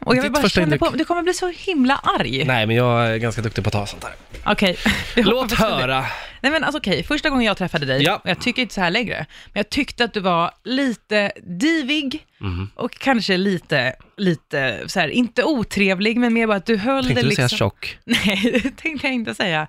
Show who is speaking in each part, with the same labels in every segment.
Speaker 1: Och jag vill
Speaker 2: Ditt
Speaker 1: bara
Speaker 2: första
Speaker 1: känna på,
Speaker 2: intryck?
Speaker 1: du kommer bli så himla arg.
Speaker 2: Nej, men jag är ganska duktig på att ta sånt här.
Speaker 1: Okej.
Speaker 2: Låt höra.
Speaker 1: Nej men alltså, okej, första gången jag träffade dig,
Speaker 2: Ja.
Speaker 1: och jag tycker inte så här längre, men jag tyckte att du var lite divig
Speaker 2: Mm.
Speaker 1: och kanske lite, lite så här, inte otrevlig, men mer bara att du höll
Speaker 2: Tänkte
Speaker 1: det
Speaker 2: du
Speaker 1: liksom...
Speaker 2: säga tjock?
Speaker 1: Nej, det tänkte jag inte säga.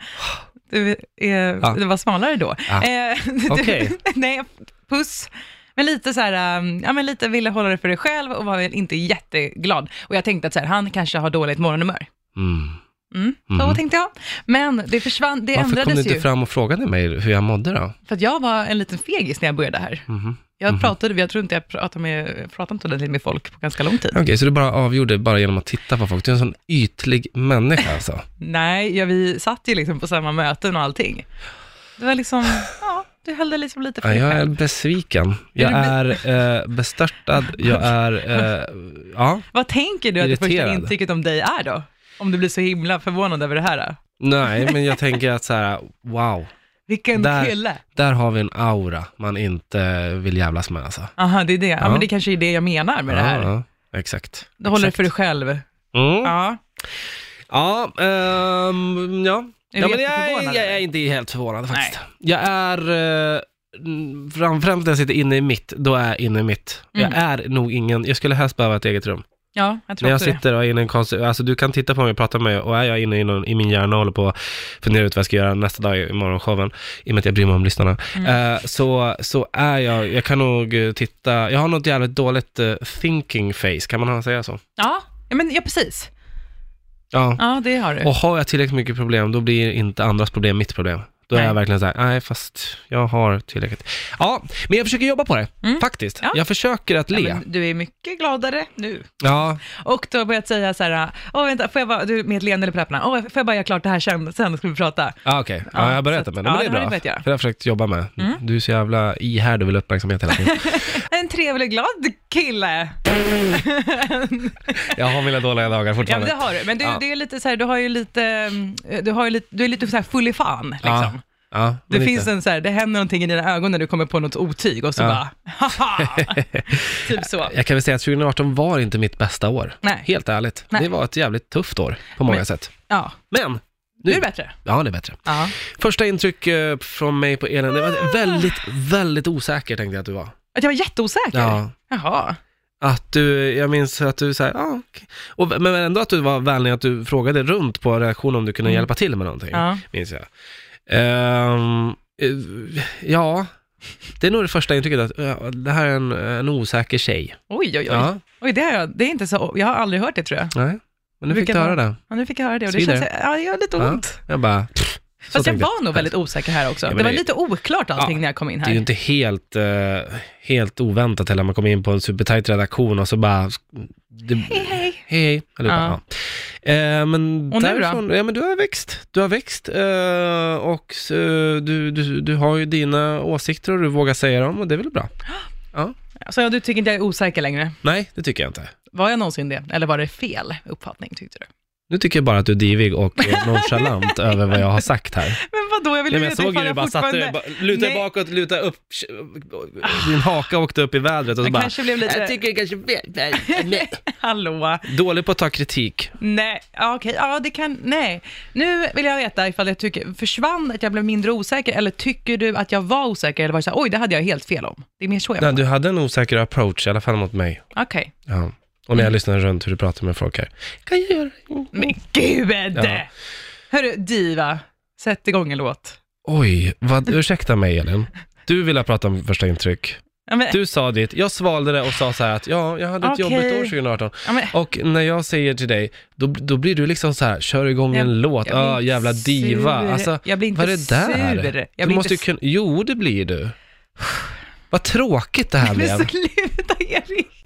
Speaker 1: Du, eh,
Speaker 2: Ja.
Speaker 1: Det var smalare då.
Speaker 2: Ja.
Speaker 1: Eh, du-
Speaker 2: Okej.
Speaker 1: nej, puss. Men lite så här, um, ja men lite ville hålla det för dig själv och var väl inte jätteglad. Och jag tänkte att så här, han kanske har dåligt morgonhumör.
Speaker 2: Mm.
Speaker 1: Mm, Så
Speaker 2: Mhm.
Speaker 1: tänkte jag. Men det försvann, det
Speaker 2: Varför kom du
Speaker 1: ändrades
Speaker 2: inte
Speaker 1: ju.
Speaker 2: fram och frågade mig hur jag mådde då?
Speaker 1: För att jag var en liten fegis när jag började här.
Speaker 2: Mhm.
Speaker 1: Jag pratade, jag tror inte jag pratade med, pratade inte ordentligt med folk på ganska lång tid.
Speaker 2: Okej, så du bara avgjorde bara genom att titta på folk? Du är en sån ytlig människa alltså.
Speaker 1: Nej, ja, vi satt ju liksom på samma möten och allting. Det var liksom, ja, du höll det liksom lite för
Speaker 2: Ja,
Speaker 1: dig
Speaker 2: jag är
Speaker 1: själv.
Speaker 2: besviken. Jag är eh, bestörtad. Jag är... Eh, ja.
Speaker 1: Vad tänker du att det första
Speaker 2: Irriterad.
Speaker 1: intrycket om dig är då? Om du blir så himla förvånad över det här.
Speaker 2: Nej, men jag tänker att så här, wow.
Speaker 1: Vilken
Speaker 2: Där.
Speaker 1: kille!
Speaker 2: Där har vi en aura man inte vill jävlas med alltså.
Speaker 1: Aha, det är det. Ja,
Speaker 2: Ja.
Speaker 1: men det kanske är det jag menar med det här.
Speaker 2: Ja, ja, exakt.
Speaker 1: Du håller det
Speaker 2: exakt.
Speaker 1: för dig själv.
Speaker 2: Mm.
Speaker 1: Ja.
Speaker 2: Ja, ehm, ja.
Speaker 1: Är
Speaker 2: ja
Speaker 1: du
Speaker 2: men jag,
Speaker 1: jätteförvånad,
Speaker 2: jag, jag är
Speaker 1: eller?
Speaker 2: inte helt förvånad faktiskt. Jag är, eh, mm, fram- främst när jag sitter inne i mitt, då är jag inne i mitt.
Speaker 1: Mm.
Speaker 2: Jag är nog ingen, jag skulle helst behöva ett eget rum.
Speaker 1: ja, jag
Speaker 2: när
Speaker 1: tror
Speaker 2: jag
Speaker 1: också det.
Speaker 2: sitter och är inne i en konstig, alltså du kan titta på mig och prata med mig och är jag inne i, någon, i min hjärna och håller på att fundera ut vad jag ska göra nästa dag i morgonshowen, i och med att jag bryr mig om lyssnarna,
Speaker 1: Mm.
Speaker 2: eh, så, så är jag, jag kan nog eh, titta, jag har något jävligt dåligt eh, thinking face, kan man säga så?
Speaker 1: Ja, ja, men, ja, precis.
Speaker 2: Ja.
Speaker 1: Ja, det har du.
Speaker 2: Och har jag tillräckligt mycket problem, då blir inte andras problem mitt problem. Då är
Speaker 1: Nej.
Speaker 2: jag verkligen så här, nej fast jag har tillräckligt. Ja, men jag försöker jobba på det, faktiskt.
Speaker 1: Mm. Ja.
Speaker 2: Jag försöker att
Speaker 1: ja,
Speaker 2: le. Ja,
Speaker 1: men, du är mycket gladare nu. Och du har börjat säga så här, åh vänta, får jag bara, du med ett leende eller på läpparna, åh får jag bara göra klart det här sen, sen ska vi prata.
Speaker 2: Ja, ah, okej.
Speaker 1: Ja,
Speaker 2: Ja, jag har
Speaker 1: så
Speaker 2: börjat
Speaker 1: att-
Speaker 2: med det,
Speaker 1: ja,
Speaker 2: men det
Speaker 1: det Mm.
Speaker 2: är
Speaker 1: har
Speaker 2: bra.
Speaker 1: du börjat
Speaker 2: För det
Speaker 1: göra.
Speaker 2: har jag försökt jobba med. Du är så jävla ihärdig och vill ha uppmärksamhet hela tiden.
Speaker 1: En trevlig, glad kille.
Speaker 2: jag har mina dåliga dagar
Speaker 1: Ja,
Speaker 2: fortfarande.
Speaker 1: men det har du. Men du,
Speaker 2: Ja.
Speaker 1: det är lite så här, du har ju lite, mm, du, har ju lite, du är lite så här full i fan, liksom.
Speaker 2: Ja, ja,
Speaker 1: Det
Speaker 2: men lite.
Speaker 1: finns en så här, det händer någonting i dina ögon när du kommer på något otyg och så
Speaker 2: Ja.
Speaker 1: bara, haha! typ så.
Speaker 2: Jag kan väl säga att 2018 var inte mitt bästa år.
Speaker 1: Nej.
Speaker 2: Helt ärligt.
Speaker 1: Nej.
Speaker 2: Det var ett jävligt tufft år, på många
Speaker 1: Men-
Speaker 2: sätt.
Speaker 1: Ja,
Speaker 2: Men, nu,
Speaker 1: nu är det bättre.
Speaker 2: Ja, det är bättre.
Speaker 1: Ja.
Speaker 2: Första intryck eh, från mig på Elin, det
Speaker 1: Ah.
Speaker 2: var väldigt, väldigt osäker tänkte jag att du var.
Speaker 1: Att jag var jätteosäker?
Speaker 2: Ja.
Speaker 1: Jaha.
Speaker 2: Att du, jag minns att du såhär, ja, okej. Och- men ändå att du var vänlig, att du frågade runt på reaktion om du kunde hjälpa till med någonting,
Speaker 1: Mm. Ja.
Speaker 2: minns jag. Ehm, eh, ja, det är nog det första intrycket, att ja, det här är en, en osäker tjej.
Speaker 1: Oj, oj, oj.
Speaker 2: Ja,
Speaker 1: Oj, det, har jag, det är inte så, jag har aldrig hört det tror jag.
Speaker 2: nej. Men nu fick
Speaker 1: Vilken
Speaker 2: du höra
Speaker 1: var-
Speaker 2: det.
Speaker 1: Ja, nu fick jag höra det och det
Speaker 2: Svider.
Speaker 1: känns, ja, det gör lite
Speaker 2: Ja.
Speaker 1: ont.
Speaker 2: Jag bara, pff, så
Speaker 1: Fast jag
Speaker 2: tänkte
Speaker 1: var nog väldigt osäker här också.
Speaker 2: Ja, men
Speaker 1: det var
Speaker 2: det-
Speaker 1: lite oklart allting
Speaker 2: Ja,
Speaker 1: när jag kom in
Speaker 2: Det är ju
Speaker 1: här.
Speaker 2: inte helt, eh, helt oväntat heller, man kommer in på en supertajt redaktion och så bara... Det,
Speaker 1: Hej, hej.
Speaker 2: Hej, hej. Allihopa,
Speaker 1: Ja.
Speaker 2: ja. Eh, men
Speaker 1: Och nu
Speaker 2: därifrån, ja, men du har växt. Du har växt eh, och eh, du, du, du har ju dina åsikter och du vågar säga dem och det är väl bra.
Speaker 1: Så ja, du tycker inte jag är osäker längre.
Speaker 2: Nej, det tycker jag inte.
Speaker 1: Var jag någonsin det? Eller var det fel uppfattning tyckte du?
Speaker 2: Nu tycker jag bara att du är divig och eh, nonchalant över vad jag har sagt här.
Speaker 1: Men vadå, jag vill
Speaker 2: Nej,
Speaker 1: ju
Speaker 2: men jag
Speaker 1: veta ifall
Speaker 2: såg ju du
Speaker 1: jag
Speaker 2: bara satte dig,
Speaker 1: fortfarande...
Speaker 2: bara- lutade
Speaker 1: Nej.
Speaker 2: bakåt, lutade upp, din haka åkte upp i vädret och så
Speaker 1: Jag
Speaker 2: bara...
Speaker 1: kanske blev
Speaker 2: Jag
Speaker 1: lite,
Speaker 2: tycker kanske...
Speaker 1: hallå,
Speaker 2: Dålig på att ta kritik.
Speaker 1: nej, ja, okej, ja det kan, nej. Nu vill jag veta ifall jag tycker, försvann att jag blev mindre osäker eller tycker du att jag var osäker eller var det så här, oj det hade jag helt fel om? Det är mer så jag
Speaker 2: Nej,
Speaker 1: menar.
Speaker 2: du hade en osäker approach, i alla fall mot mig.
Speaker 1: Okej,
Speaker 2: Ja. Och
Speaker 1: Mm.
Speaker 2: när jag lyssnade runt hur du pratade med folk här. Kan jag göra
Speaker 1: men gud!
Speaker 2: Ja.
Speaker 1: Hörru, Diva, sätt igång en låt.
Speaker 2: Oj, vad, ursäkta mig Elin. Du ville prata om första intryck.
Speaker 1: Ja, men,
Speaker 2: Du sa ditt, jag svalde det och sa så här att ja, jag hade ett
Speaker 1: Okej.
Speaker 2: jobbigt år 2018.
Speaker 1: ja, men,
Speaker 2: Och när jag säger till dig, då, då blir du liksom så här, kör igång
Speaker 1: Jag-
Speaker 2: en låt,
Speaker 1: jag blir
Speaker 2: ah,
Speaker 1: inte
Speaker 2: jävla diva.
Speaker 1: sur.
Speaker 2: Alltså,
Speaker 1: Jag blir inte
Speaker 2: vad är det där?
Speaker 1: sur. Jag
Speaker 2: du
Speaker 1: blir
Speaker 2: måste ju
Speaker 1: inte
Speaker 2: kunna, jo det blir du. Vad tråkigt det här
Speaker 1: Men
Speaker 2: blev.
Speaker 1: sluta Erik!